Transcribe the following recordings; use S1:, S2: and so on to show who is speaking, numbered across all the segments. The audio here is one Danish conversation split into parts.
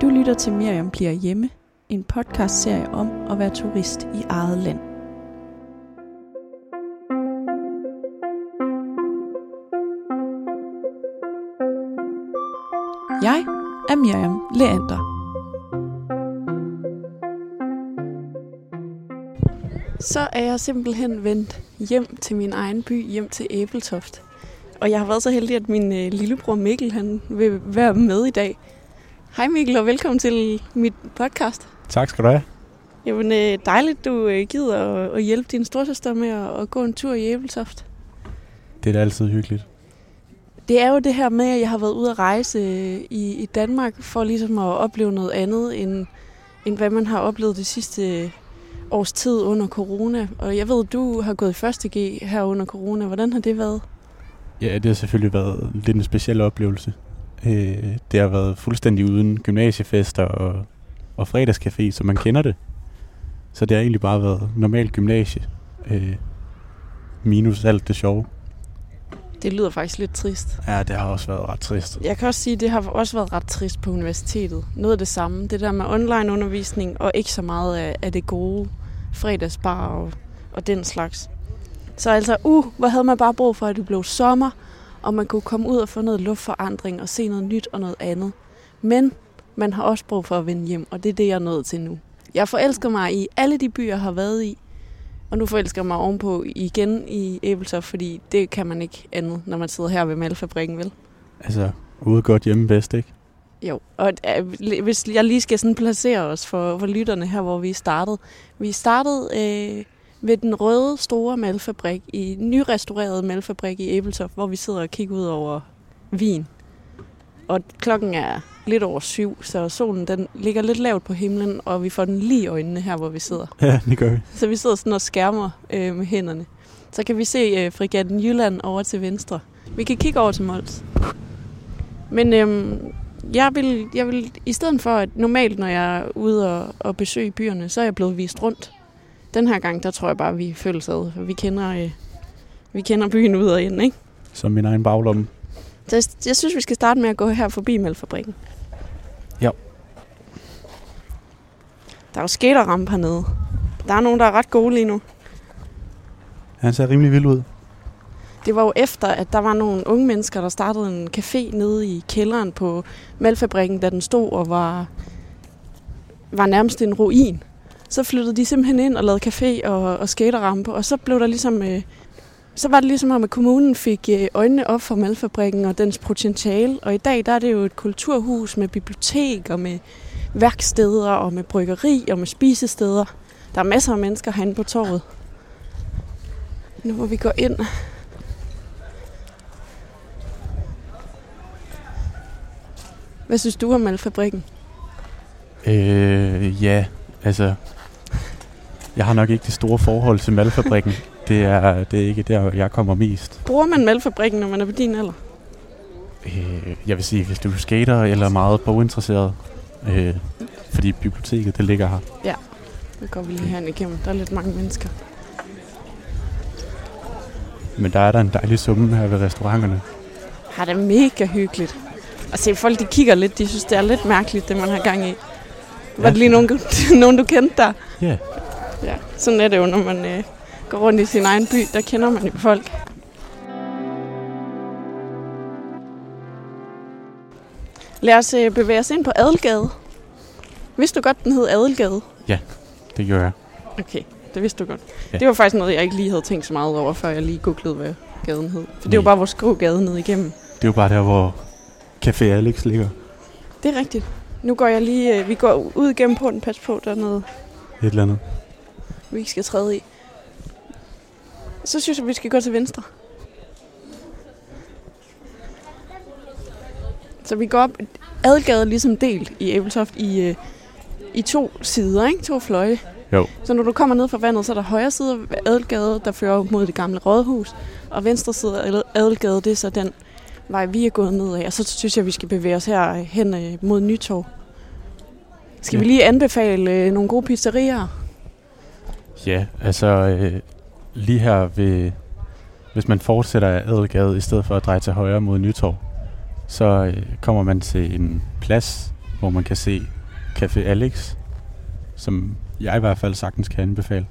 S1: Du lytter til Miriam bliver hjemme, en podcastserie om at være turist i eget land. Jeg er Miriam Leander.
S2: Så er jeg simpelthen vendt hjem til min egen by, hjem til Æbeltoft. Og jeg har været så heldig, at min øh, lillebror Mikkel han vil være med i dag. Hej Mikkel, og velkommen til mit podcast.
S3: Tak skal du have.
S2: Jamen øh, dejligt, du øh, gider at, at hjælpe din storsøster med at, at gå en tur i Æbeltoft.
S3: Det er da altid hyggeligt.
S2: Det er jo det her med, at jeg har været ude at rejse øh, i, i Danmark for ligesom at opleve noget andet, end, end hvad man har oplevet det sidste øh, års tid under corona. Og jeg ved, du har gået i 1.G her under corona. Hvordan har det været?
S3: Ja, det har selvfølgelig været lidt en speciel oplevelse. Øh, det har været fuldstændig uden gymnasiefester og, og fredagscafé, som man kender det. Så det har egentlig bare været normal gymnasie, øh, minus alt det sjove.
S2: Det lyder faktisk lidt trist.
S3: Ja, det har også været ret trist.
S2: Jeg kan også sige, at det har også været ret trist på universitetet. Noget af det samme. Det der med online undervisning, og ikke så meget af, af det gode fredagsbar og, og den slags. Så altså, uh, hvor havde man bare brug for, at det blev sommer, og man kunne komme ud og få noget luftforandring og se noget nyt og noget andet. Men man har også brug for at vende hjem, og det er det, jeg er nået til nu. Jeg forelsker mig i alle de byer, jeg har været i, og nu forelsker jeg mig ovenpå igen i Æbeltoft, fordi det kan man ikke andet, når man sidder her ved malfabrikken, vel?
S3: Altså, ude godt hjemme bedst, ikke?
S2: Jo, og øh, hvis jeg lige skal sådan placere os for, for lytterne her, hvor vi startede. Vi startede øh, ved den røde store malfabrik, i den nyrestaurerede malfabrik i Æbeltoft, hvor vi sidder og kigger ud over Wien. Og klokken er lidt over syv, så solen den ligger lidt lavt på himlen, og vi får den lige i øjnene her, hvor vi sidder.
S3: Ja, det gør vi.
S2: Så vi sidder sådan og skærmer øh, med hænderne. Så kan vi se øh, frigatten Jylland over til venstre. Vi kan kigge over til Mols. Men øh, jeg, vil, jeg vil, i stedet for at normalt, når jeg er ude og, og besøge byerne, så er jeg blevet vist rundt. Den her gang, der tror jeg bare, vi følges ad, for vi kender, øh, vi kender byen ud og ind, ikke?
S3: Som min egen baglomme.
S2: Så jeg, jeg synes, vi skal starte med at gå her forbi Malfabrikken.
S3: Ja.
S2: Der er jo skaterramp hernede. Der er nogen, der er ret gode lige nu.
S3: Han ser rimelig vild ud.
S2: Det var jo efter, at der var nogle unge mennesker, der startede en café nede i kælderen på Malfabrikken, da den stod og var, var nærmest en ruin. Så flyttede de simpelthen ind og lavede café og, og skaterrampe, og så blev der ligesom... Øh, så var det ligesom om, at kommunen fik øh, øjnene op for Malfabrikken og dens potentiale. Og i dag der er det jo et kulturhus med bibliotek og med værksteder og med bryggeri og med spisesteder. Der er masser af mennesker herinde på torvet. Nu må vi gå ind. Hvad synes du om Malfabrikken?
S3: Øh, ja, altså... Jeg har nok ikke det store forhold til malfabrikken. det, er, det er ikke der, jeg kommer mest.
S2: Bruger man Malfabrikken, når man er på din alder?
S3: Øh, jeg vil sige, hvis du er skater eller er meget boginteresseret, øh, fordi biblioteket, det ligger her.
S2: Nu går vi lige herhen igennem. Der er lidt mange mennesker.
S3: Men der er der en dejlig summe her ved restauranterne.
S2: Har det er mega hyggeligt. Og se, folk de kigger lidt. De synes, det er lidt mærkeligt, det man har gang i. Var
S3: Ja.
S2: det lige nogen, du- nogen du kendte der?
S3: Ja.
S2: Ja, sådan er det jo, når man øh, går rundt i sin egen by. Der kender man jo folk. Lad os øh, bevæge os ind på Adelgade. Vidste du godt, den hed Adelgade?
S3: Det gør jeg.
S2: Okay, det vidste du godt. Ja.
S3: Ja.
S2: Det var faktisk noget, jeg ikke lige havde tænkt så meget over, før jeg lige googlede, hvad gaden hed. For det var
S3: Nej.
S2: bare vores gågade ned igennem.
S3: Det er jo bare der, hvor Café Alex ligger.
S2: Det er rigtigt. Nu går jeg lige, øh, vi går ud igennem porten, pas på, der er noget,
S3: Et eller andet.
S2: vi ikke skal træde i. Så synes jeg, vi skal gå til venstre. Så vi går op. Adelgade er ligesom delt i Æbeltoft i, øh, i to sider, ikke? To fløje.
S3: Jo.
S2: Så når du kommer ned fra vandet, så er der højre side af Adelgade, der fører op mod det gamle rådhus. Og venstre side af Adelgade, det er så den vej, vi er gået ned af. Og så synes jeg, vi skal bevæge os her hen øh, mod Nytorv. Skal ja. vi
S3: Ja.
S2: lige anbefale øh, nogle gode pizzerier?
S3: Ja, altså øh, lige her ved... Hvis man fortsætter af Adelgade, i stedet for at dreje til højre mod Nytorv, så øh, kommer man til en plads, hvor man kan se Café Alex, som jeg i hvert fald sagtens kan anbefale.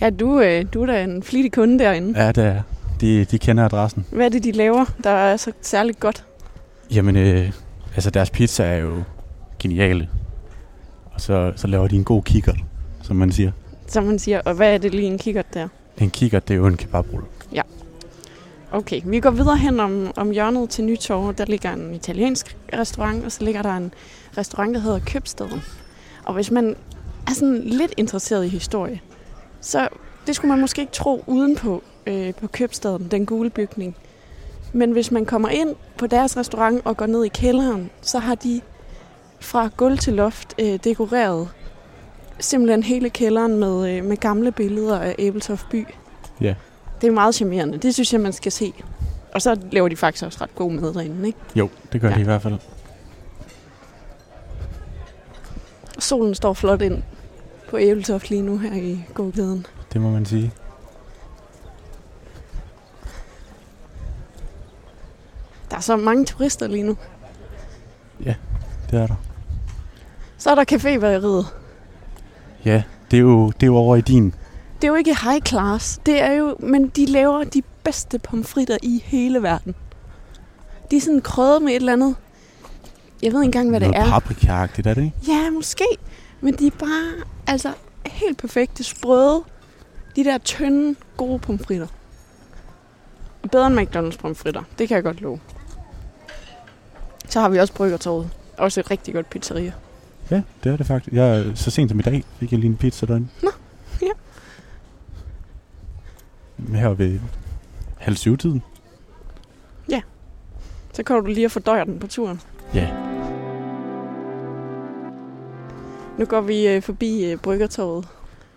S2: Ja, du, øh, du er da en flittig kunde derinde.
S3: Ja, det er. De, de kender adressen.
S2: Hvad er det, de laver, der er så særligt godt?
S3: Jamen, øh, altså deres pizza er jo geniale. Og så, så laver de en god kikkert, som man siger.
S2: Som man siger, og hvad er det lige en kikkert der?
S3: En kikkert, det er jo en kebabrulle.
S2: Okay, vi går videre hen om, om hjørnet til Nytorv. Der ligger en italiensk restaurant, og så ligger der en restaurant, der hedder Købstaden. Og hvis man er sådan lidt interesseret i historie, så det skulle man måske ikke tro udenpå øh, på Købstaden, den gule bygning. Men hvis man kommer ind på deres restaurant og går ned i kælderen, så har de fra gulv til loft øh, dekoreret simpelthen hele kælderen med, øh, med gamle billeder af Æbeltoft by. Det er meget charmerende. Det synes jeg, man skal se. Og så laver de faktisk også ret god mad derinde, ikke?
S3: Jo, det gør ja.
S2: Ja.
S3: de i hvert fald.
S2: Og solen står flot ind på Æbeltoft lige nu her i gågaden.
S3: Det må man sige.
S2: Der er så mange turister lige nu.
S3: Det er der.
S2: Så er der caféværeriet.
S3: Ja, det er jo, det er jo over i din.
S2: Det er jo ikke high class. Det er jo, men de laver de bedste pomfritter i hele verden. De er sådan krøde med et eller andet. Jeg ved ikke engang, hvad det
S3: Noget
S2: er.
S3: paprika-agtigt, er det ikke?
S2: Ja, måske. Men de er bare altså helt perfekte, sprøde. De der tynde, gode pomfritter. Og Bedre end McDonald's pomfritter. Det kan jeg godt love. Så har vi også Bryggertorvet. Også et rigtig godt pizzeria.
S3: Ja, det er det faktisk. Jeg, så sent som i dag fik jeg lige en pizza derinde.
S2: Nå, ja.
S3: Her ved halv syv tiden.
S2: Så kommer du lige og fordøjer den på turen.
S3: Ja.
S2: Nu går vi øh, forbi øh, Bryggertorvet,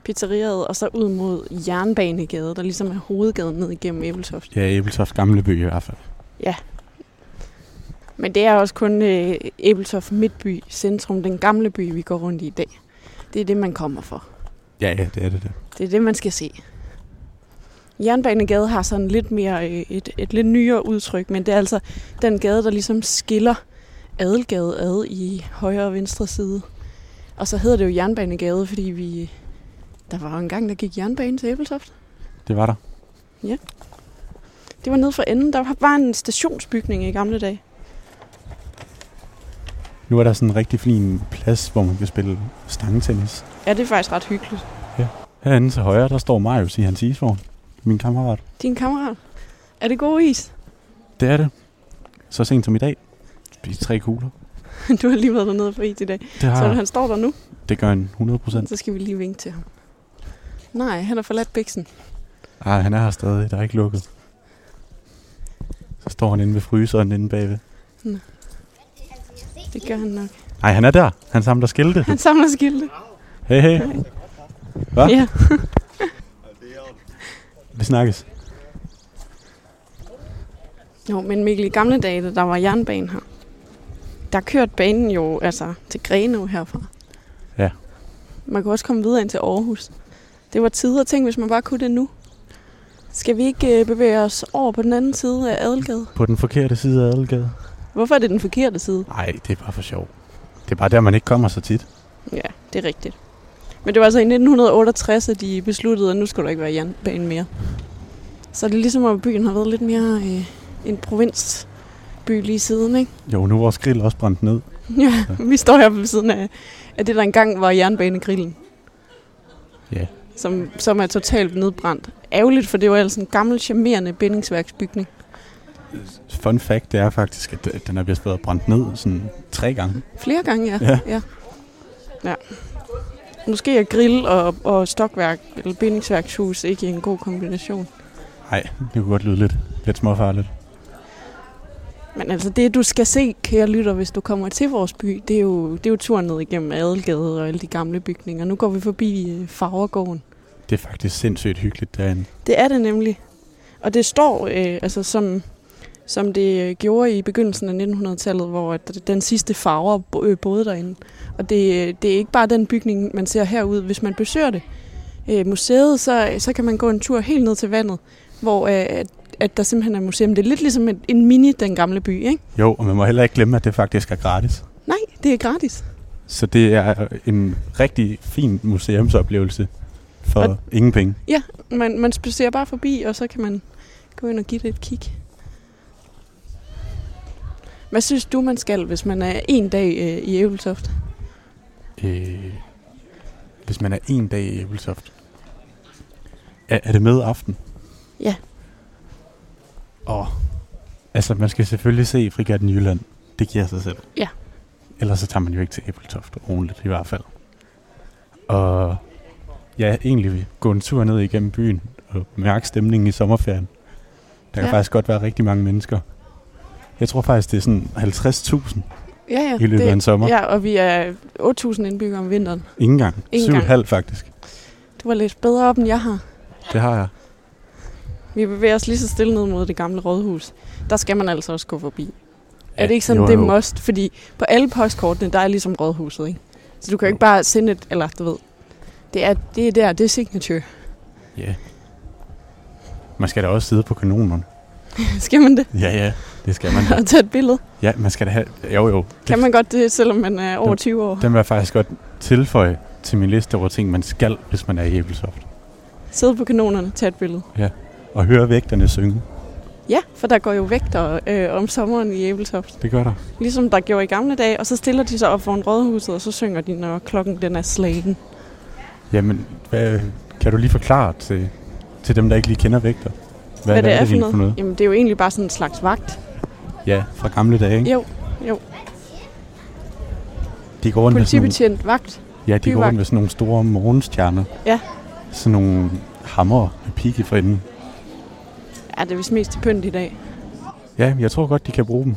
S2: pizzeriet, og så ud mod Jernbanegade, der ligesom er hovedgaden ned igennem Æbeltoft.
S3: Ja, Æbeltoft gamle by i hvert fald.
S2: Men det er også kun øh, Æbeltoft Midtby Centrum, den gamle by, vi går rundt i i dag. Det er det, man kommer for.
S3: Ja, ja, det er det. det.
S2: Det er det, man skal se. Jernbanegade har sådan lidt mere øh, et, et lidt nyere udtryk, men det er altså den gade, der ligesom skiller Adelgade ad i højre og venstre side. Og så hedder det jo Jernbanegade, fordi vi... Der var jo en gang, der gik jernbane til Æbeltoft.
S3: Det var der.
S2: Det var nede for enden. Der var en stationsbygning i gamle dage.
S3: Nu er der sådan en rigtig fin plads, hvor man kan spille stangetennis.
S2: Ja, det er faktisk ret hyggeligt.
S3: Herinde til højre, der står Marius i hans isvogn. Min kammerat.
S2: Din kammerat, er det god is?
S3: Det er det. Så sent som i dag. Spiste tre kugler.
S2: Du har lige været dernede på IT i dag.
S3: Det,
S2: Så når
S3: har,
S2: han står der nu,
S3: det gør han 100 procent.
S2: så skal vi lige vinke til ham. Nej, han har forladt biksen.
S3: Ej, Ah, han er her stadig. Der er ikke lukket. Så står han inde ved fryseren inde bagved.
S2: Det gør han nok.
S3: Nej, han er der. Han samler skilte.
S2: Han samler skilte.
S3: Hey, hey. Hva?
S2: Ja.
S3: Vi snakkes.
S2: Jo, men Mikkel, i gamle dage, da der var jernbane her, der kørte banen jo altså til Grenå herfra.
S3: Ja.
S2: Man kunne også komme videre ind til Aarhus. Det var tider ting, hvis man bare kunne det nu. Skal vi ikke øh, bevæge os over på den anden side af Adelgade?
S3: På den forkerte side af Adelgade.
S2: Hvorfor er det den forkerte side?
S3: Nej, det er bare for sjov. Det er bare der, man ikke kommer så tit.
S2: Ja, det er rigtigt. Men det var altså i 1968, at de besluttede, at nu skulle der ikke være jernbane mere. Så det er ligesom, at byen har været lidt mere øh, en provinsby lige siden, ikke?
S3: Jo, nu er vores grill også brændt ned.
S2: Ja, vi står her ved siden af, af det, der engang var jernbanegrillen.
S3: Ja.
S2: Som, som er totalt nedbrændt. Ærgerligt, for det var altså en gammel, charmerende bindingsværksbygning.
S3: Fun fact, det er faktisk, at øh, den er blevet brændt ned sådan tre gange.
S2: Flere gange, ja.
S3: Ja.
S2: ja. ja. Måske er grill og, og stokværk, eller bindingsværkshus, ikke en god kombination.
S3: Nej, det kunne godt lyde lidt, lidt småfarligt.
S2: Men altså det, du skal se, kære lytter, hvis du kommer til vores by, det er jo, det er jo turen ned igennem Adelgade og alle de gamle bygninger. Nu går vi forbi øh, Farvergården.
S3: Det er faktisk sindssygt hyggeligt derinde.
S2: Det er det nemlig. Og det står, øh, altså som, som det øh, gjorde i begyndelsen af 1900-tallet, hvor at den sidste farver bo- øh, boede derinde. Og det, øh, det er ikke bare den bygning, man ser herude. Hvis man besøger det øh, museet, så, så kan man gå en tur helt ned til vandet, hvor øh, at, at der simpelthen er museum. Det er lidt ligesom en, en mini, den gamle by, ikke?
S3: Jo, og man må heller ikke glemme, at det faktisk er gratis.
S2: Nej, det er gratis.
S3: Så det er en rigtig fin museumsoplevelse for
S2: Og-
S3: ingen penge.
S2: Man, man spacerer bare forbi, og så kan man gå ind og give det et kig. Hvad synes du, man skal, hvis man er en dag øh, i Æbeltoft?
S3: Øh, hvis man er en dag i Æbelsoft. Er, er det med aften?
S2: Ja.
S3: Og altså, man skal selvfølgelig se Frigatten Jylland. Det giver sig selv.
S2: Ja.
S3: Ellers så tager man jo ikke til Æbeltoft ordentligt i hvert fald. Og ja, egentlig gå en tur ned igennem byen og mærke stemningen i sommerferien. Der kan
S2: Ja.
S3: ja. faktisk godt være rigtig mange mennesker. Jeg tror faktisk, det er sådan 50.000
S2: Ja, ja.
S3: i løbet af en sommer. Ja.
S2: Ja, og vi er 8.000 indbyggere om vinteren.
S3: Ingen gang.
S2: Ingen
S3: Syv
S2: gang.
S3: og halv faktisk.
S2: Det var lidt bedre op, end jeg har.
S3: Det har jeg.
S2: Vi bevæger os lige så stille ned mod det gamle rådhus. Der skal man altså også gå forbi. Er det ikke sådan,
S3: jo,
S2: det er
S3: jo.
S2: must? Fordi på alle postkortene, der er ligesom rådhuset, ikke? Så du kan jo ikke bare sende et, eller du ved. Det er, det er der, det er signature.
S3: Ja. Man skal da også sidde på kanonerne.
S2: skal man det?
S3: Ja, ja. Det skal man da.
S2: Og tage et billede?
S3: Ja, man skal da have... Jo, jo.
S2: Kan man godt det, selvom man er over
S3: Den-
S2: 20 år?
S3: Den vil jeg faktisk godt tilføje til min liste over ting, man skal, hvis man er i Æbelsoft.
S2: Sidde på kanonerne, tage et billede.
S3: Og høre vægterne synge.
S2: Ja, for der går jo vægter øh, om sommeren i Æbeltoft.
S3: Det gør der.
S2: Ligesom der gjorde i gamle dage. Og så stiller de sig op foran rådhuset, og så synger de, når klokken den er slagen.
S3: Jamen, hvad, kan du lige forklare til, til dem, der ikke lige kender vægter? Hvad,
S2: det
S3: egentlig
S2: Jamen, det er jo egentlig bare sådan en slags vagt.
S3: Ja, fra gamle dage, ikke?
S2: Jo, jo.
S3: De går rundt med sådan nogle,
S2: Politibetjent vagt.
S3: ja, de går
S2: byvagt.
S3: rundt med sådan nogle store morgenstjerner.
S2: Ja.
S3: Sådan nogle hammer med pigge for enden.
S2: Ja, det er vist mest til pynt i dag.
S3: Ja, jeg tror godt, de kan bruge dem.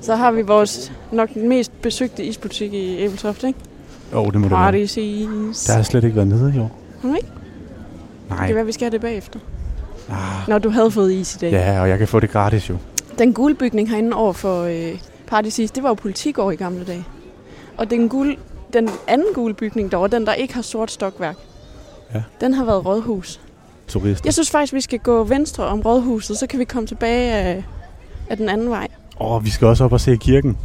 S2: Så har vi vores nok den mest besøgte isbutik i Æbeltoft, ikke?
S3: Åh, oh, det må det være.
S2: Paradis is.
S3: Der har jeg slet ikke været nede i år.
S2: Har du ikke? Det
S3: Nej.
S2: kan være, vi skal have det bagefter.
S3: Ah,
S2: Når du havde fået is i dag.
S3: ja, og jeg kan få det gratis jo.
S2: Den gule bygning herinde over for øh, Paradis is, det var jo politikår i gamle dage. Og den, gule, den anden gule bygning derovre, den der ikke har sort stokværk,
S3: Ja.
S2: den har været rådhus.
S3: Turister.
S2: Jeg synes faktisk, vi skal gå venstre om rådhuset, så kan vi komme tilbage af, af den anden vej.
S3: Åh, oh, vi skal også op og se kirken.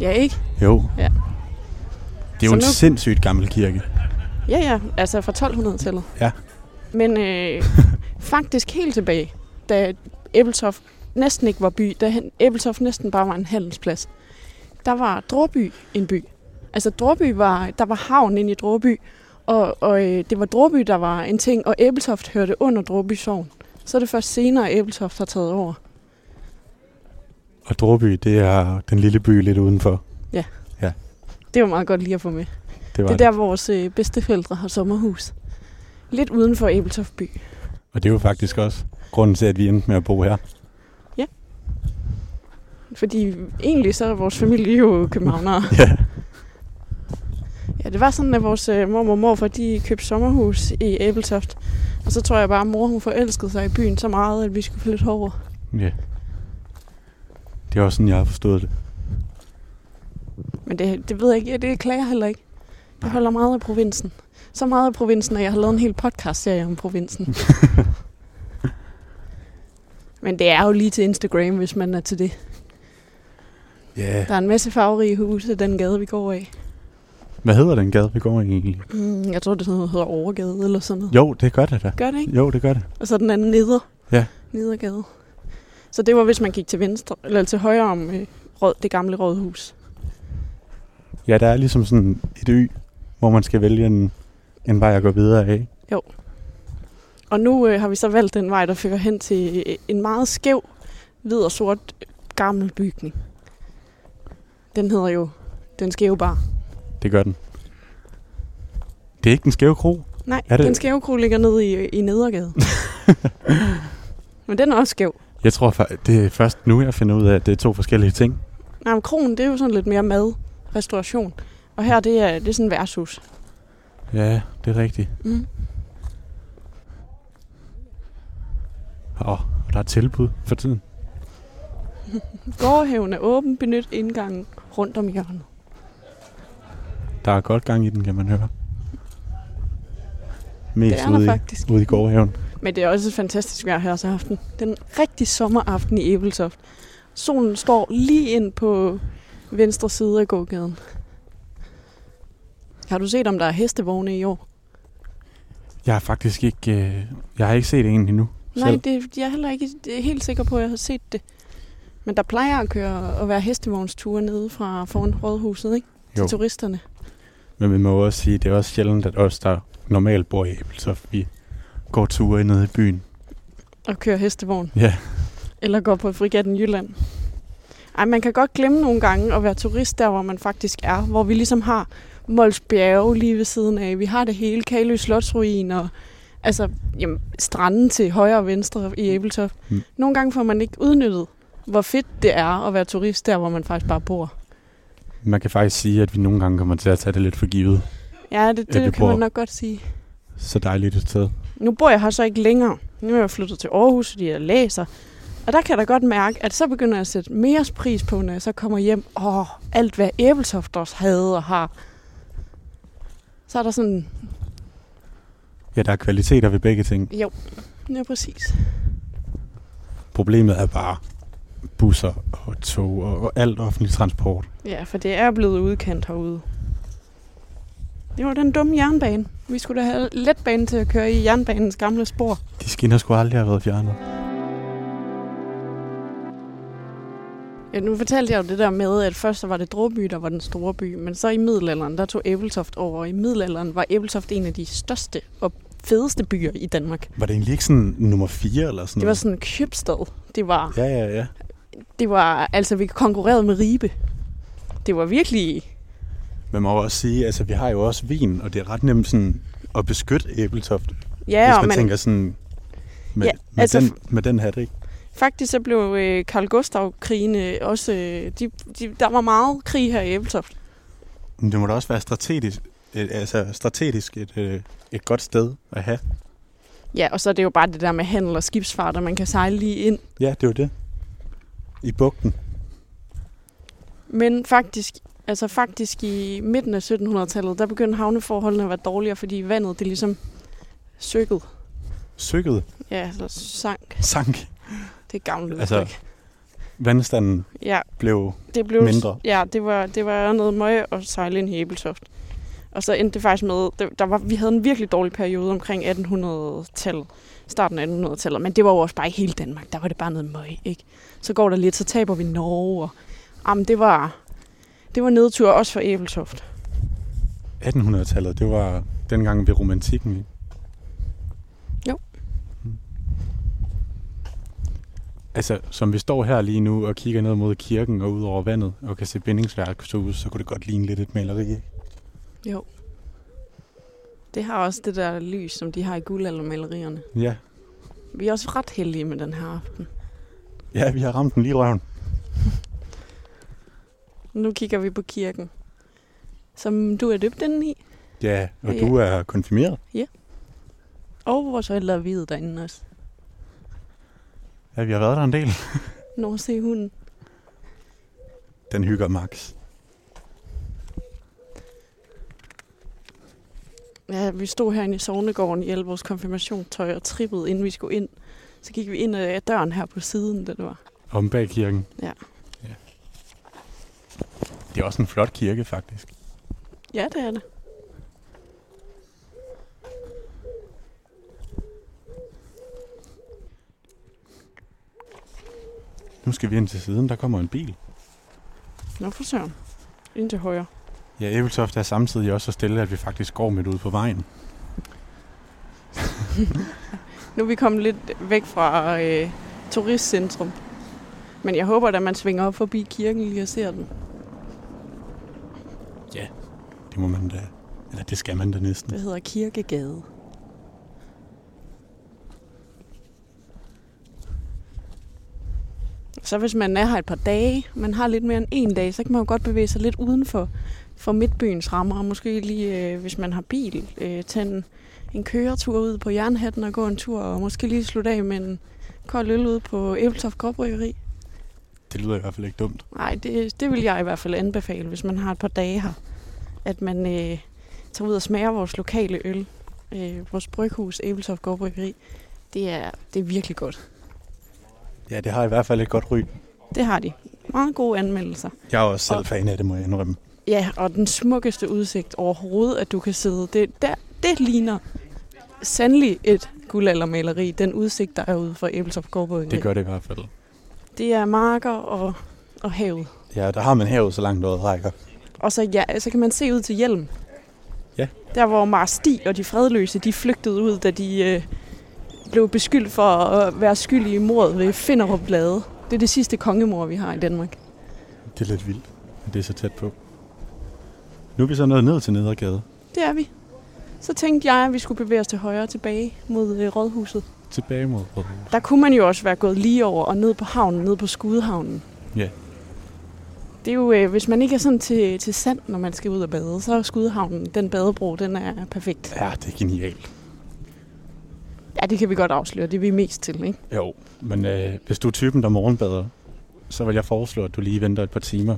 S2: Ja, ikke?
S3: Jo.
S2: Ja.
S3: Det er jo
S2: Så
S3: en
S2: nu-
S3: sindssygt gammel kirke.
S2: Ja, ja, altså fra 1200-tallet.
S3: Ja.
S2: Men øh, faktisk helt tilbage, da Æbeltoft næsten ikke var by, da han- Æbeltoft næsten bare var en handelsplads, der var Dråby en by. Altså Dråby var, der var havn inde i Dråby, og, og øh, det var Dråby, der var en ting, og Æbeltoft hørte under Dråby Sogn. Så er det først senere, at Æbeltoft har taget over.
S3: Og Dråby, det er den lille by lidt udenfor.
S2: Det var meget godt lige at få med.
S3: Det var
S2: Det er
S3: det.
S2: der, vores øh, bedsteforældre har sommerhus. Lidt uden for Æbeltoft by.
S3: Og det er jo faktisk også grunden til, at vi endte med at bo her.
S2: Fordi egentlig så er vores familie jo københavnere.
S3: Ja.
S2: Ja, det var sådan, at vores øh, mormor og morfar, de købte sommerhus i Æbeltoft. Og så tror jeg bare, at mor hun forelskede sig i byen så meget, at vi skulle flytte over.
S3: ja. Det er også sådan, jeg har forstået det.
S2: Men det, det ved jeg ikke, ja, det klager jeg heller ikke. Jeg holder meget af provinsen. Så meget af provinsen, at jeg har lavet en hel podcast-serie om provinsen. Men det er jo lige til Instagram, hvis man er til det.
S3: Ja.
S2: Der er en masse farverige huse i den gade, vi går af.
S3: Hvad hedder den gade, vi går i egentlig?
S2: Mm, jeg tror, det er sådan noget, der hedder Overgade eller sådan noget.
S3: Jo, det gør det da.
S2: Gør det ikke?
S3: Jo, det gør det.
S2: Og så den anden neder.
S3: Ja.
S2: Nedergade. Så det var, hvis man gik til venstre, eller til højre om øh, råd, det gamle rådhus.
S3: Ja, der er ligesom sådan et ø, hvor man skal vælge en, en vej at gå videre af.
S2: Og nu øh, har vi så valgt den vej, der fører hen til øh, en meget skæv, hvid og sort øh, gammel bygning. Den hedder jo Den Skæve Bar.
S3: Det gør den. Det er ikke den skæve kro.
S2: Nej,
S3: Er det-
S2: Den Skæve Kro ligger nede i, i Nedergade. men den er også skæv.
S3: Jeg tror, fa- det er først nu, jeg finder ud af, at det er to forskellige ting.
S2: Nej, men kronen, det er jo sådan lidt mere mad, restauration. Og her, det er, det er sådan en værtshus.
S3: Ja, det er rigtigt.
S2: Mm.
S3: Åh, og der er tilbud for tiden.
S2: Gårdhaven er åben, benyt indgangen rundt om hjørnet.
S3: Der er godt gang i den, kan man høre.
S2: Det
S3: Mest
S2: er
S3: ude,
S2: der
S3: i,
S2: faktisk.
S3: ude i gårdhaven.
S2: Men det er også et fantastisk vejr her så aften. Den rigtig sommeraften i Æbeltoft. Solen står lige ind på venstre side af gågaden. Har du set, om der er hestevogne i år?
S3: Jeg har faktisk ikke... Øh, jeg har ikke set en endnu.
S2: Nej, det, jeg er heller ikke helt sikker på, at jeg har set det. Men der plejer at køre og være hestevognsture nede fra foran rådhuset, ikke? Til
S3: Jo.
S2: turisterne.
S3: Men vi må også sige, det er også sjældent, at os, der normalt bor i Æbeltoft, vi går ture ned i byen.
S2: Og køre hestevogn.
S3: Ja,
S2: Eller går på frigatten Jylland. Ej, man kan godt glemme nogle gange at være turist der, hvor man faktisk er. Hvor vi ligesom har Mols Bjerge lige ved siden af. Vi har det hele. Kalø Slotsruin og altså, jamen, stranden til højre og venstre i Æbeltoft.
S3: Mm.
S2: Mm. Nogle gange får man ikke udnyttet, hvor fedt det er at være turist der, hvor man faktisk bare bor.
S3: man kan faktisk sige, at vi nogle gange kommer til at tage det lidt for givet.
S2: Ja, det, det
S3: vi
S2: kan
S3: bor-
S2: man nok godt sige.
S3: Så dejligt et sted.
S2: Nu bor jeg her så ikke længere. Nu er jeg flyttet til Aarhus, fordi jeg læser. Og der kan jeg da godt mærke, at så begynder jeg at sætte mere pris på, når jeg så kommer hjem. Åh, alt hvad Æbeltoft også havde og har. Så er der sådan,
S3: Ja, der er kvaliteter ved begge ting.
S2: ja præcis.
S3: Problemet er bare busser og tog og, og alt offentlig transport.
S2: Ja, for det er blevet udkant herude. Det var den dumme jernbane. Vi skulle da have letbane til at køre i jernbanens gamle spor.
S3: De skinner skulle aldrig have været fjernet.
S2: Ja, nu fortalte jeg jo det der med, at først så var det Dråby, der var den store by, men så i middelalderen, der tog Æbeltoft over. Og i middelalderen var Æbeltoft en af de største og fedeste byer i Danmark.
S3: Var det egentlig ikke sådan nummer 4 eller sådan
S2: Det var
S3: noget?
S2: sådan en købstad. Det var,
S3: Ja, ja, ja.
S2: det var, altså vi konkurrerede med Ribe. Det var virkelig,
S3: Man må jo også sige, altså vi har jo også vin, og det er ret nemt sådan at beskytte Æbeltoft, ja,
S2: ja,
S3: hvis
S2: og
S3: man
S2: man,
S3: tænker sådan med,
S2: Ja,
S3: ja,
S2: altså-
S3: altså, med, den, med den hat, ikke?
S2: faktisk så blev øh, Karl Gustav-krigene også, øh, de, de, der var meget krig her i Æbeltoft.
S3: Men det må da også være strategisk, øh, altså strategisk et, øh, et godt sted at have.
S2: Ja, og så er det jo bare det der med handel og skibsfart, og man kan sejle lige ind.
S3: Ja, det er jo det. I bugten.
S2: Men faktisk, altså faktisk i midten af 1700-tallet, der begyndte havneforholdene at være dårligere, fordi vandet det ligesom søkkede.
S3: Søkket.
S2: Ja, eller sank.
S3: Sank.
S2: Det er gavnligt.
S3: Altså-
S2: udtryk.
S3: Vandstanden
S2: Ja,
S3: blev...
S2: det blev...
S3: Mindre.
S2: Ja, det var, det var noget møg at sejle ind i Æbeltoft. Og så endte det faktisk med, det- der var, vi havde en virkelig dårlig periode omkring 1800-tallet, starten af 1800-tallet, men det var jo også bare i hele Danmark, der var det bare noget møg, ikke? Så går der lidt, så taber vi Norge, og jamen, det var, det var nedtur også for Æbeltoft.
S3: 1800-tallet, det var dengang ved romantikken. ikke?
S2: Jo.
S3: Mm. Altså, som vi står her lige nu og kigger ned mod kirken og ud over vandet og kan se bindingsværkshus, så kunne det godt ligne lidt et maleri. ikke?
S2: Jo. Det har også det der lys, som de har i guldaldermalerierne.
S3: Ja.
S2: Vi er også ret heldige med den her aften.
S3: ja, vi har ramt den lige i røven.
S2: Nu kigger vi på kirken, som du er døbt den i,
S3: Ja, og
S2: Ja.
S3: du er konfirmeret.
S2: og vores forældre er videt derinde også.
S3: Ja, vi har været der en del.
S2: Nå, se hunden.
S3: Den hygger Max.
S2: Ja, vi stod herinde i Sognegården i alle vores konfirmationstøj og trippede, inden vi skulle ind. Så gik vi ind ad døren her på siden, den var.
S3: Om bag kirken.
S2: Ja.
S3: ja. Det er også en flot kirke, faktisk.
S2: Ja, det er det.
S3: Nu skal vi ind til siden, der kommer en bil.
S2: Nå, for søren. Ind til højre.
S3: Ja, Æbeltoft er samtidig også så stille, at vi faktisk går midt ude på vejen.
S2: Nu er vi kommet lidt væk fra øh, turistcentrum. Men jeg håber, at man svinger op forbi kirken lige og ser den.
S3: Det må man da... Eller det skal man da næsten.
S2: Det hedder Kirkegade. Så hvis man er her et par dage, man har lidt mere end en dag, så kan man jo godt bevæge sig lidt uden for, for midtbyens rammer. Og måske lige, øh, hvis man har bil, øh, tage en, en køretur ud på Jernhatten og gå en tur. Og måske lige slutte af med en kold øl ude på Æbeltoft Gråbryggeri.
S3: Det lyder i hvert fald ikke dumt.
S2: Nej, det, det vil jeg i hvert fald anbefale, hvis man har et par dage her. At man øh, tager ud og smager vores lokale øl. Øh, vores bryghus, Æbeltoft Gårdbryggeri. Det er, det er virkelig godt.
S3: Ja, det har i hvert fald et godt ry.
S2: Det har de. Meget gode anmeldelser.
S3: Jeg er også selv
S2: Og-
S3: fan af det, må jeg indrømme.
S2: Ja, og den smukkeste udsigt overhovedet, at du kan sidde. Det, der, det ligner sandelig et guldaldermaleri, den udsigt, der er ude for Æbeltoft Gårdbåden.
S3: Det gør det i hvert fald.
S2: det er marker og, og havet.
S3: Ja, der har man havet så langt noget rækker.
S2: Og så, ja, så kan man se ud til hjelm.
S3: Ja.
S2: Der hvor Marsti og de fredløse, de flygtede ud, da de øh, blev beskyldt for at øh, være skyldige i mordet ved Finderup Blade. Det er det sidste kongemor, vi har i Danmark.
S3: Det er lidt vildt, at det er så tæt på. Nu er vi så nået ned til Nedergade.
S2: Det er vi. Så tænkte jeg, at vi skulle bevæge os til højre tilbage mod øh, rådhuset.
S3: Tilbage mod Rådhus.
S2: Der kunne man jo også være gået lige over og ned på havnen, ned på Skudehavnen.
S3: Ja.
S2: Det er jo, øh, hvis man ikke er sådan til, til sand, når man skal ud og bade, så er Skudehavnen, den badebro, den er perfekt.
S3: Ja, det er genialt.
S2: Ja, det kan vi godt afsløre. Det er vi mest til, ikke?
S3: Jo, men øh, hvis du er typen, der morgenbader, så vil jeg foreslå, at du lige venter et par timer.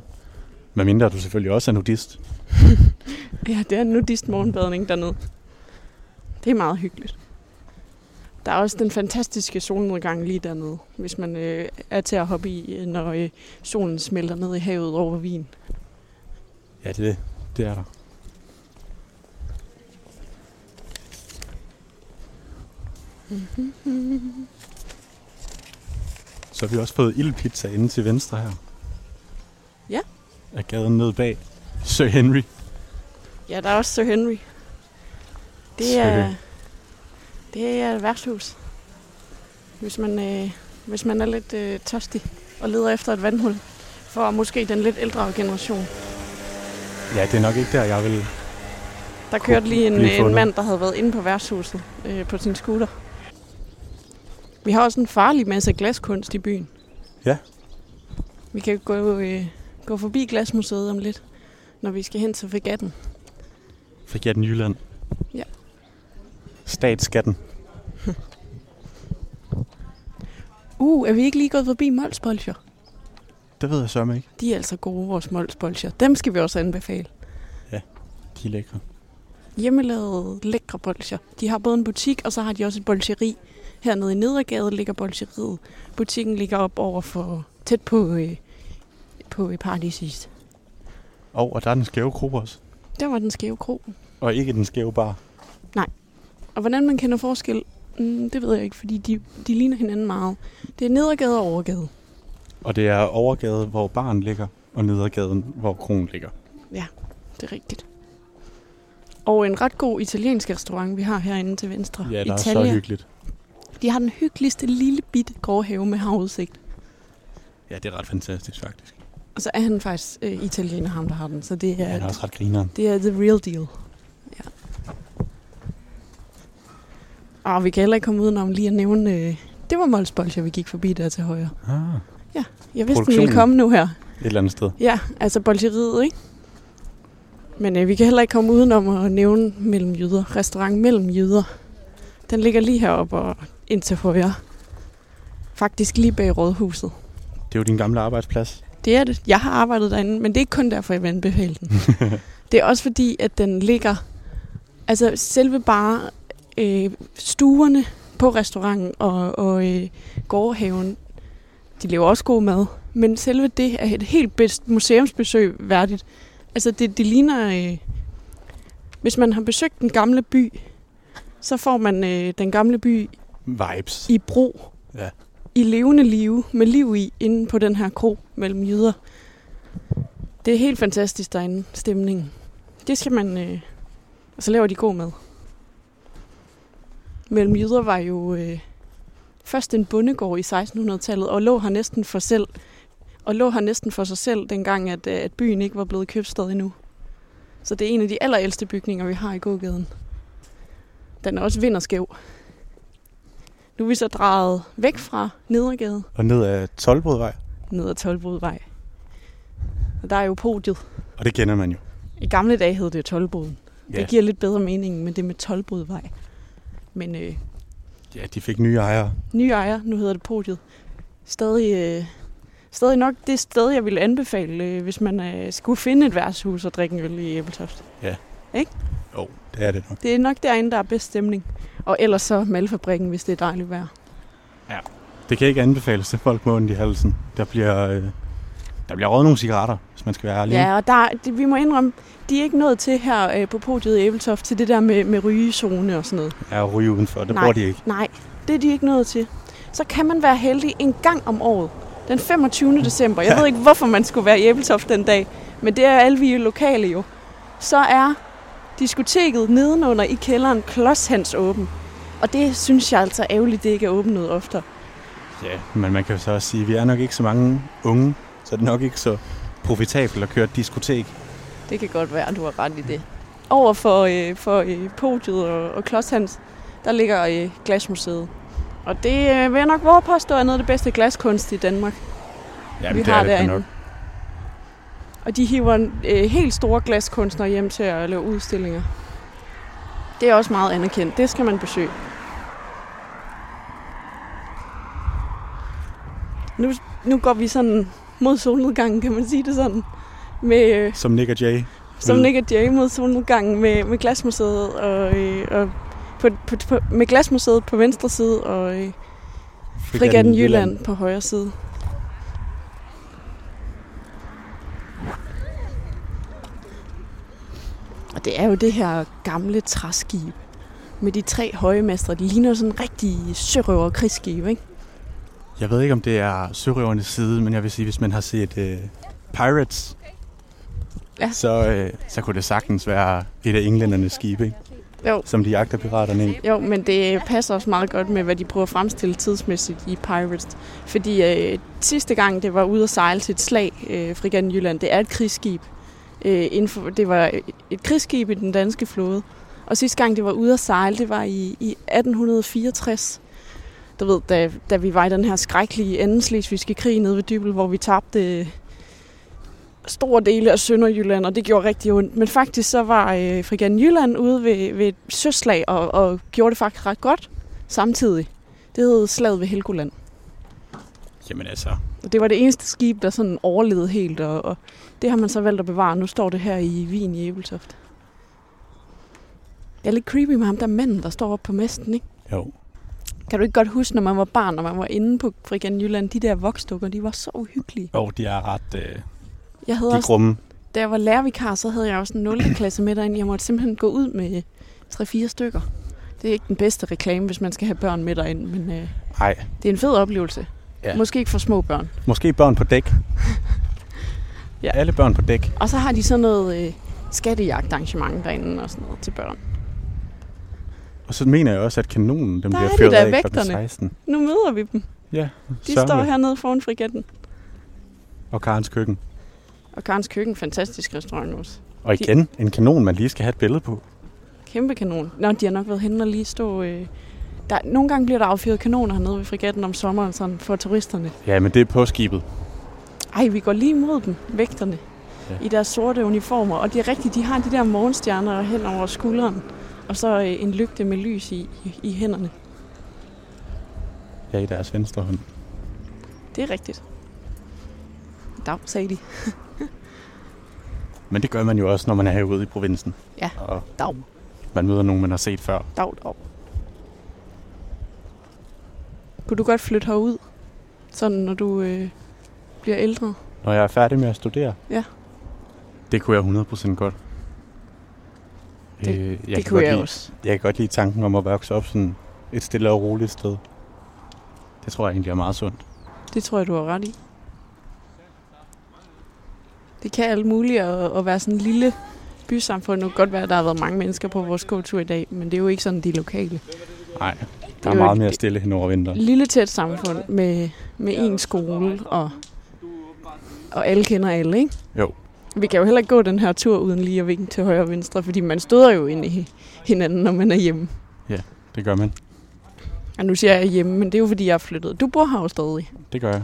S3: Med mindre du selvfølgelig også er nudist.
S2: Ja, det er en nudist morgenbadning dernede. Det er meget hyggeligt. Der er også den fantastiske solnedgang lige dernede, hvis man øh, er til at hoppe i, øh, når øh, solen smelter ned i havet over Wien.
S3: Ja, det er det. Det er der. Mm-hmm. Så har vi også fået ildpizza inde til venstre her.
S2: Ja.
S3: Af gaden ned bag. Sir Henry.
S2: Ja, der er også Sir Henry. Det
S3: Sir
S2: er,
S3: Henry.
S2: det er et værtshus. Hvis man, øh, hvis man er lidt øh, tørstig og leder efter et vandhul for måske den lidt ældre generation.
S3: Ja, det er nok ikke der, jeg vil...
S2: Der kørte lige en,
S3: blive
S2: en
S3: fundet.
S2: mand, der havde været inde på værtshuset øh, på sin scooter. Vi har også en farlig masse glaskunst i byen.
S3: Ja.
S2: Vi kan gå, øh, gå forbi Glasmuseet om lidt, når vi skal hen til fregatten.
S3: Fik jeg den Jylland.
S2: Ja.
S3: Statsskatten.
S2: Uh, er vi ikke lige gået forbi Molsbolcher?
S3: Det ved jeg sørme ikke.
S2: De er altså gode, vores Molsbolcher. Dem skal vi også anbefale.
S3: De er lækre.
S2: Hjemmelavede, lækre bolcher. De har både en butik, og så har de også et bolcheri. Hernede i Nedergade ligger bolcheriet. Butikken ligger op over for tæt på, øh, på øh, Paradisis.
S3: Og, og der er den skæve gruppe også.
S2: Der var den skæve krog.
S3: Og ikke den skæve bar.
S2: Og hvordan man kender forskel, mm, det ved jeg ikke, fordi de, de ligner hinanden meget. Det er nedergade og overgade.
S3: Og det er overgade, hvor baren ligger, og nedergaden, hvor kronen ligger.
S2: Det er rigtigt. Og en ret god italiensk restaurant, vi har herinde til venstre.
S3: Ja, der er
S2: Italia.
S3: så hyggeligt.
S2: De har den hyggeligste lille bitte grå have med havudsigt.
S3: Ja, det er ret fantastisk faktisk.
S2: Og så er han faktisk øh, italiener, ham der har den. Så det
S3: Ja,
S2: er,
S3: han er også ret grineren.
S2: det er the real deal. Ja. Og Ah, vi kan heller ikke komme udenom lige at nævne... Øh, det var Molsbolcher, vi gik forbi der til højre.
S3: Ah,
S2: Jeg vidste, den ville
S3: Produktionen.
S2: komme nu her.
S3: et eller andet sted.
S2: Ja, altså bolcheriet, ikke? Men øh, vi kan heller ikke komme udenom at nævne mellem jyder. Restaurant mellem jyder. Den ligger lige heroppe og ind til højre. Faktisk lige bag rådhuset.
S3: Det er jo din gamle arbejdsplads.
S2: Det er det. Jeg har arbejdet derinde, men det er ikke kun derfor, jeg vil anbefale den. det er også fordi, at den ligger... Altså selve bare øh, stuerne på restauranten og, og øh, gårdhaven, de laver også god mad. Men selve det er et helt bedst museumsbesøg værdigt. Altså det, det ligner... Øh, hvis man har besøgt den gamle by, så får man øh, den gamle by
S3: Vibes.
S2: i bro.
S3: Ja.
S2: I levende live, med liv i, inde på den her kro mellem jyder. Det er helt fantastisk derinde, stemningen. Det skal man... Øh, og så laver de god mad. Mellem jyder var jo øh, først en bondegård i 1600-tallet, og lå her næsten for selv og lå her næsten for sig selv, dengang at, øh, at byen ikke var blevet købstad endnu. Så det er en af de allerældste bygninger, vi har i gågaden. Den er også vinderskæv. Nu er vi så drejet væk fra Nedergade
S3: Og ned ad Tolbodvej.
S2: ned ad Tolbodvej. Og der er jo podiet.
S3: Og det kender man jo.
S2: I gamle dage hed det Tolboden. Ja. Det giver lidt bedre mening med det med Tolbodvej. Men øh,
S3: ja de fik nye ejere.
S2: nye ejer, nu hedder det podiet. Stadig, øh, stadig nok det sted, jeg ville anbefale, øh, hvis man øh, skulle finde et værtshus og drikke en øl i Æbeltoft.
S3: Jo, det er det nok.
S2: Det er nok derinde, der er bedst stemning. Og ellers så malfabrikken, hvis det er dejligt vejr.
S3: Det kan ikke anbefales til folk med ondt i halsen. Der bliver øh, Der bliver røget nogle cigaretter, hvis man skal være ærlig.
S2: Ja, og der, det, vi må indrømme, de er ikke nået til her øh, på podiet i Æbeltoft til det der med, med rygezone og sådan noget.
S3: Ja, og ryge udenfor, det
S2: Nej.
S3: bruger de ikke.
S2: Nej, det er de ikke nået til. Så kan man være heldig en gang om året. Den 25. december. Jeg ved ikke, hvorfor man skulle være i Æbeltoft den dag, men det er alle vi lokale jo. Så er diskoteket nedenunder i kælderen Klodshans åben. Og det synes jeg altså ærgerligt, det ikke er åbent noget oftere.
S3: Ja, men man kan jo så også sige, at vi er nok ikke så mange unge, så det er nok ikke så profitabelt at køre et diskotek.
S2: Det kan godt være, du har ret i det. Over for, øh, for øh, podiet og, og Klodshans, der ligger øh, Glasmuseet. Og det øh, vil jeg nok våge påstå er noget af det bedste glaskunst i Danmark,
S3: Jamen,
S2: vi
S3: det
S2: har
S3: er det da
S2: derinde.
S3: nok.
S2: Og de hiver en, øh, helt store glaskunstnere hjem til at lave udstillinger. Det er også meget anerkendt. Det skal man besøge. Nu, nu går vi sådan mod solnedgangen, kan man sige det sådan. Med, øh,
S3: Som Nick og Jay.
S2: som
S3: Ved-
S2: ligger Jay mod solnedgangen med, med glasmuseet og, øh, og på, på, på, med glasmuseet på venstre side og øh, Frigatten Jylland på højre side. Og det er jo det her gamle træskib med de tre høje master. De ligner sådan en rigtig sørøver krigsskib, ikke?
S3: Jeg ved ikke, om det er sørøvernes side, men jeg vil sige, hvis man har set øh, Pirates,
S2: Ja.
S3: så, øh, så kunne det sagtens være et af englændernes skibe, ikke?
S2: Jo.
S3: som de jagter piraterne i.
S2: Jo, men det passer også meget godt med, hvad de prøver at fremstille tidsmæssigt i Pirates. Fordi øh, sidste gang, det var ude at sejle til et slag, øh, Frigatten Jylland, det er et krigsskib. Øh, inden for, det var et krigsskib i den danske flåde. Og sidste gang, det var ude at sejle, det var i, i 1864. Du ved, da, da vi var i den her skrækkelige anden slesvigske krig nede ved Dybel, hvor vi tabte øh, store dele af Sønderjylland, og det gjorde rigtig ondt. Men faktisk så var øh, Frigan Jylland ude ved, ved et søslag og, og gjorde det faktisk ret godt samtidig. Det hed Slaget ved Helgoland.
S3: Jamen altså,
S2: Og det var det eneste skib, der sådan overlevede helt, og, og det har man så valgt at bevare. Nu står det her i Wien i Æbeltoft. Det er lidt creepy med ham der manden, der står oppe på mesten, ikke?
S3: jo.
S2: Kan du ikke godt huske, når man var barn, når man var inde på Frigan Jylland, de der voksdukker, de var så uhyggelige.
S3: Jo, de er ret... Øh,
S2: Jeg havde
S3: de er
S2: også
S3: grumme.
S2: Da jeg var lærervikar, så havde jeg også en 0. klasse med derinde. Jeg måtte simpelthen gå ud med 3-4 stykker. Det er ikke den bedste reklame, hvis man skal have børn med derind, men øh,
S3: Nej,
S2: det er en fed oplevelse.
S3: Ja.
S2: Ja. Måske ikke for små børn.
S3: måske børn på dæk.
S2: Ja.
S3: Alle børn på dæk.
S2: Og så har de sådan noget øh, skattejagtarrangement derinde og sådan noget til børn.
S3: Og så mener jeg også, at kanonen den
S2: Der
S3: bliver
S2: er de
S3: fyret
S2: der
S3: af klokken
S2: vægterne.
S3: 16.
S2: Nu møder vi dem.
S3: Ja,
S2: De
S3: sørme.
S2: står hernede foran frigatten.
S3: Og Karens køkken.
S2: Og Karens Køkken, fantastisk restaurant også.
S3: Og
S2: De-
S3: igen, en kanon, man lige skal have et billede på.
S2: Kæmpe kanon. Nå, de har nok været henne og lige stå... Øh, der, nogle gange bliver der affyret kanoner hernede ved frigatten om sommeren sådan, for turisterne.
S3: Ja, men det er på skibet.
S2: Ej, vi går lige mod dem, vægterne,
S3: Ja.
S2: ja. i deres sorte uniformer. Og det er rigtigt, de har de der morgenstjerner hen over skulderen, og så øh, en lygte med lys i, i, i hænderne.
S3: Ja, i deres venstre hånd.
S2: Det er rigtigt. Dag, sagde de.
S3: Men det gør man jo også, når man er herude i provinsen.
S2: Ja.
S3: Og
S2: Dag,
S3: man møder nogen, man har set før.
S2: dag, dag. Kunne du godt flytte herud, sådan når du øh, bliver ældre?
S3: Når jeg er færdig med at studere.
S2: Ja.
S3: Det kunne jeg 100% godt. øh, jeg kan
S2: det kunne
S3: godt
S2: jeg
S3: lide,
S2: også.
S3: Jeg kan godt lide tanken om at vokse op sådan et stille og roligt sted. Det tror jeg egentlig er meget sundt.
S2: Det tror jeg, du har ret i. Det kan alt muligt at, at være sådan en lille bysamfund. Nu kan godt være, at der har været mange mennesker på vores gåtur i dag, men det er jo ikke sådan de er lokale.
S3: Nej,
S2: Det
S3: der
S2: er
S3: er
S2: jo
S3: meget
S2: et-
S3: mere stille hen over vinteren.
S2: Lille tæt samfund med, med én skole, og, og alle kender alle, ikke?
S3: Jo.
S2: Vi kan jo heller ikke gå den her tur uden lige at vinke til højre og venstre, fordi man støder jo ind i hinanden, når man er hjemme.
S3: Det gør man.
S2: Og nu siger jeg hjemme, men det er jo fordi, jeg er flyttet. Du bor her jo stadig.
S3: Det gør jeg.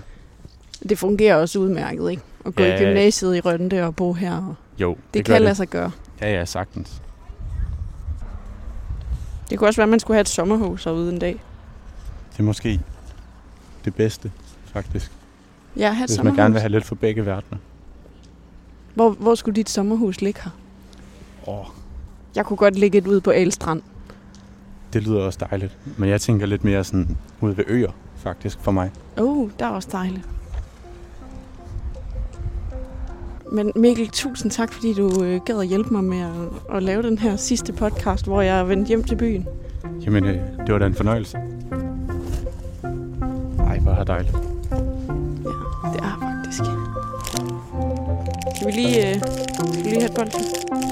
S2: Det fungerer også udmærket, ikke? At gå
S3: Ja.
S2: ja. i gymnasiet i Rønde og bo her. Og
S3: Jo,
S2: det, det kan lade sig gøre.
S3: Ja, ja, sagtens.
S2: Det kunne også være, at man skulle have et sommerhus herude en dag.
S3: Det er måske det bedste, faktisk.
S2: Ja, have et
S3: Hvis man
S2: sommerhus.
S3: gerne vil have lidt for begge verdener.
S2: Hvor, hvor skulle dit sommerhus ligge her?
S3: Åh,
S2: Jeg kunne godt ligge et ude på Ælstrand.
S3: det lyder også dejligt. Men jeg tænker lidt mere sådan ude ved øer, faktisk, for mig.
S2: Åh, oh, der er også dejligt.
S4: Men Mikkel, tusind tak, fordi du øh, gad at hjælpe mig med at, at lave den her sidste podcast, hvor jeg er vendt hjem til byen.
S3: Jamen, øh, det var da en fornøjelse. Ej, hvor er det dejligt.
S4: Det er faktisk. Skal vi lige, øh, skal vi lige have et bolsje?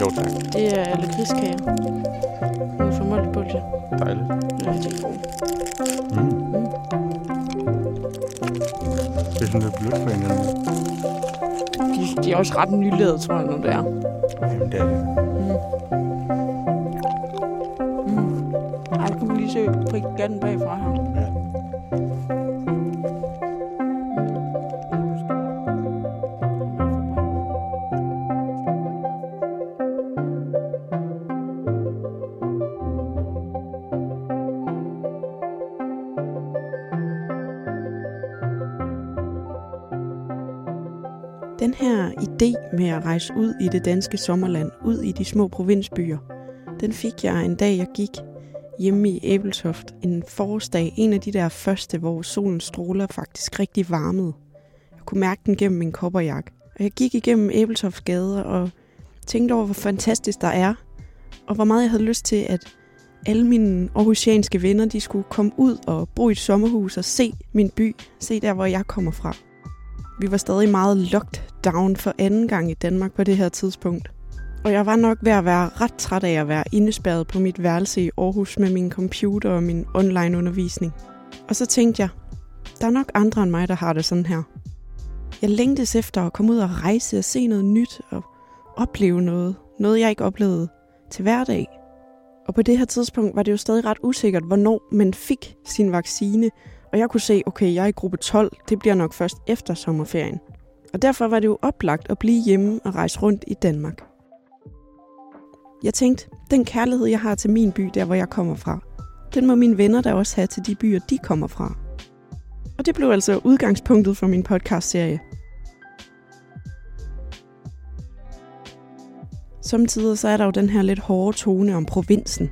S3: Jo, tak.
S4: Det er lakridskage. Noget for målt bolsje.
S3: Dejligt.
S4: Eller telefon.
S3: Mm. Det er sådan lidt blødt for en eller anden. måde.
S4: De, de er også ret nylavede, tror jeg nu, det er.
S3: Jamen, det er det.
S4: Mm. Ej, du kan lige se prikken bagfra her.
S3: Ja.
S2: Den her idé med at rejse ud i det danske sommerland, ud i de små provinsbyer, den fik jeg en dag, jeg gik hjemme i Æbeltoft. En forårsdag, en af de der første, hvor solen stråler faktisk rigtig varmede. Jeg kunne mærke den gennem min kopperjakke. Og jeg gik igennem Æbeltofts gader og tænkte over, hvor fantastisk der er, og hvor meget jeg havde lyst til, at alle mine aarhusianske venner, de skulle komme ud og bo i et sommerhus og se min by, se der, hvor jeg kommer fra. Vi var stadig meget locked down for anden gang i Danmark på det her tidspunkt. Og jeg var nok ved at være ret træt af at være indespærret på mit værelse i Aarhus med min computer og min online undervisning. Og så tænkte jeg, der er nok andre end mig, der har det sådan her. Jeg længtes efter at komme ud og rejse og se noget nyt og opleve noget. Noget, jeg ikke oplevede til hverdag. Og på det her tidspunkt var det jo stadig ret usikkert, hvornår man fik sin vaccine, og jeg kunne se, okay, jeg er i gruppe 12, det bliver nok først efter sommerferien. Og derfor var det jo oplagt at blive hjemme og rejse rundt i Danmark. Jeg tænkte, den kærlighed, jeg har til min by, der hvor jeg kommer fra, den må mine venner da også have til de byer, de kommer fra. Og det blev altså udgangspunktet for min podcastserie. Samtidig så er der jo den her lidt hårde tone om provinsen.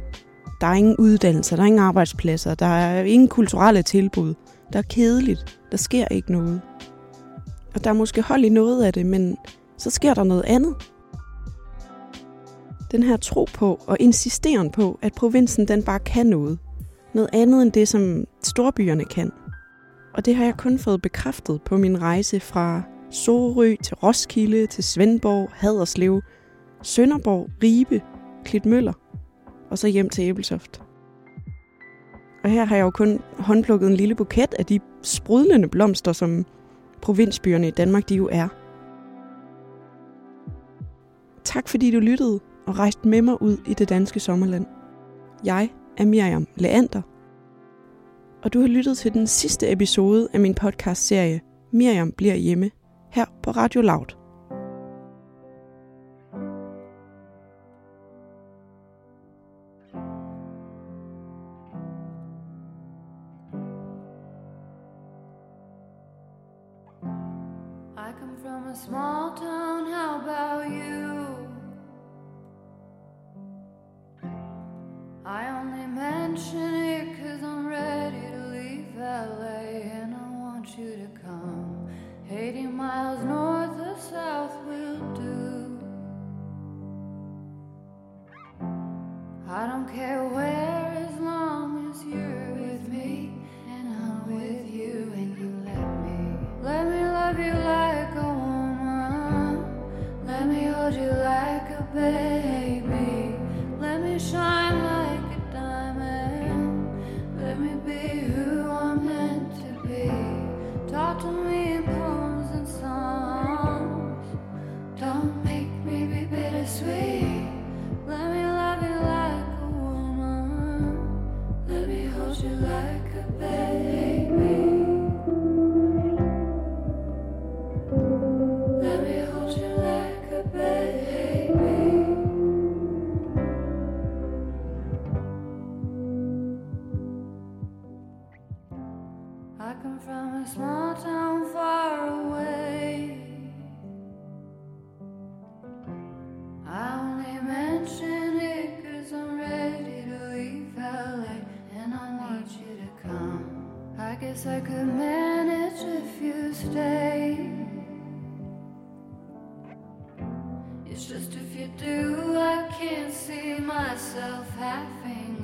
S2: Der er ingen uddannelser, der er ingen arbejdspladser, der er ingen kulturelle tilbud. Der er kedeligt, der sker ikke noget. Og der er måske hold i noget af det, men så sker der noget andet. Den her tro på og insisteren på, at provinsen den bare kan noget. Noget andet end det, som storbyerne kan. Og det har jeg kun fået bekræftet på min rejse fra Sorø til Roskilde til Svendborg, Haderslev, Sønderborg, Ribe, Klitmøller og så hjem til Æbelsoft. Og her har jeg jo kun håndplukket en lille buket af de sprudlende blomster, som provinsbyerne i Danmark de jo er. Tak fordi du lyttede og rejste med mig ud i det danske sommerland. Jeg er Miriam Leander, og du har lyttet til den sidste episode af min podcastserie Miriam bliver hjemme her på Radio Loud.
S5: I come from a small town, how about you? I only mention it cause I'm ready to leave LA and I want you to come. 80 miles north or south will do. I don't care where as long as you're with me and I'm with you and you let me. Let me love you like a woman. Let me hold you like a baby. Let me shine like a diamond. Let me be who I'm meant to be. Talk to me in poems and songs. Don't make me be bittersweet. Let me love you like a woman. Let me hold you like a baby. Let me hold you like a baby. I come from a small town far away. I only mention it cause I'm ready to leave LA and I need you to come. I guess I could manage if you stay. myself having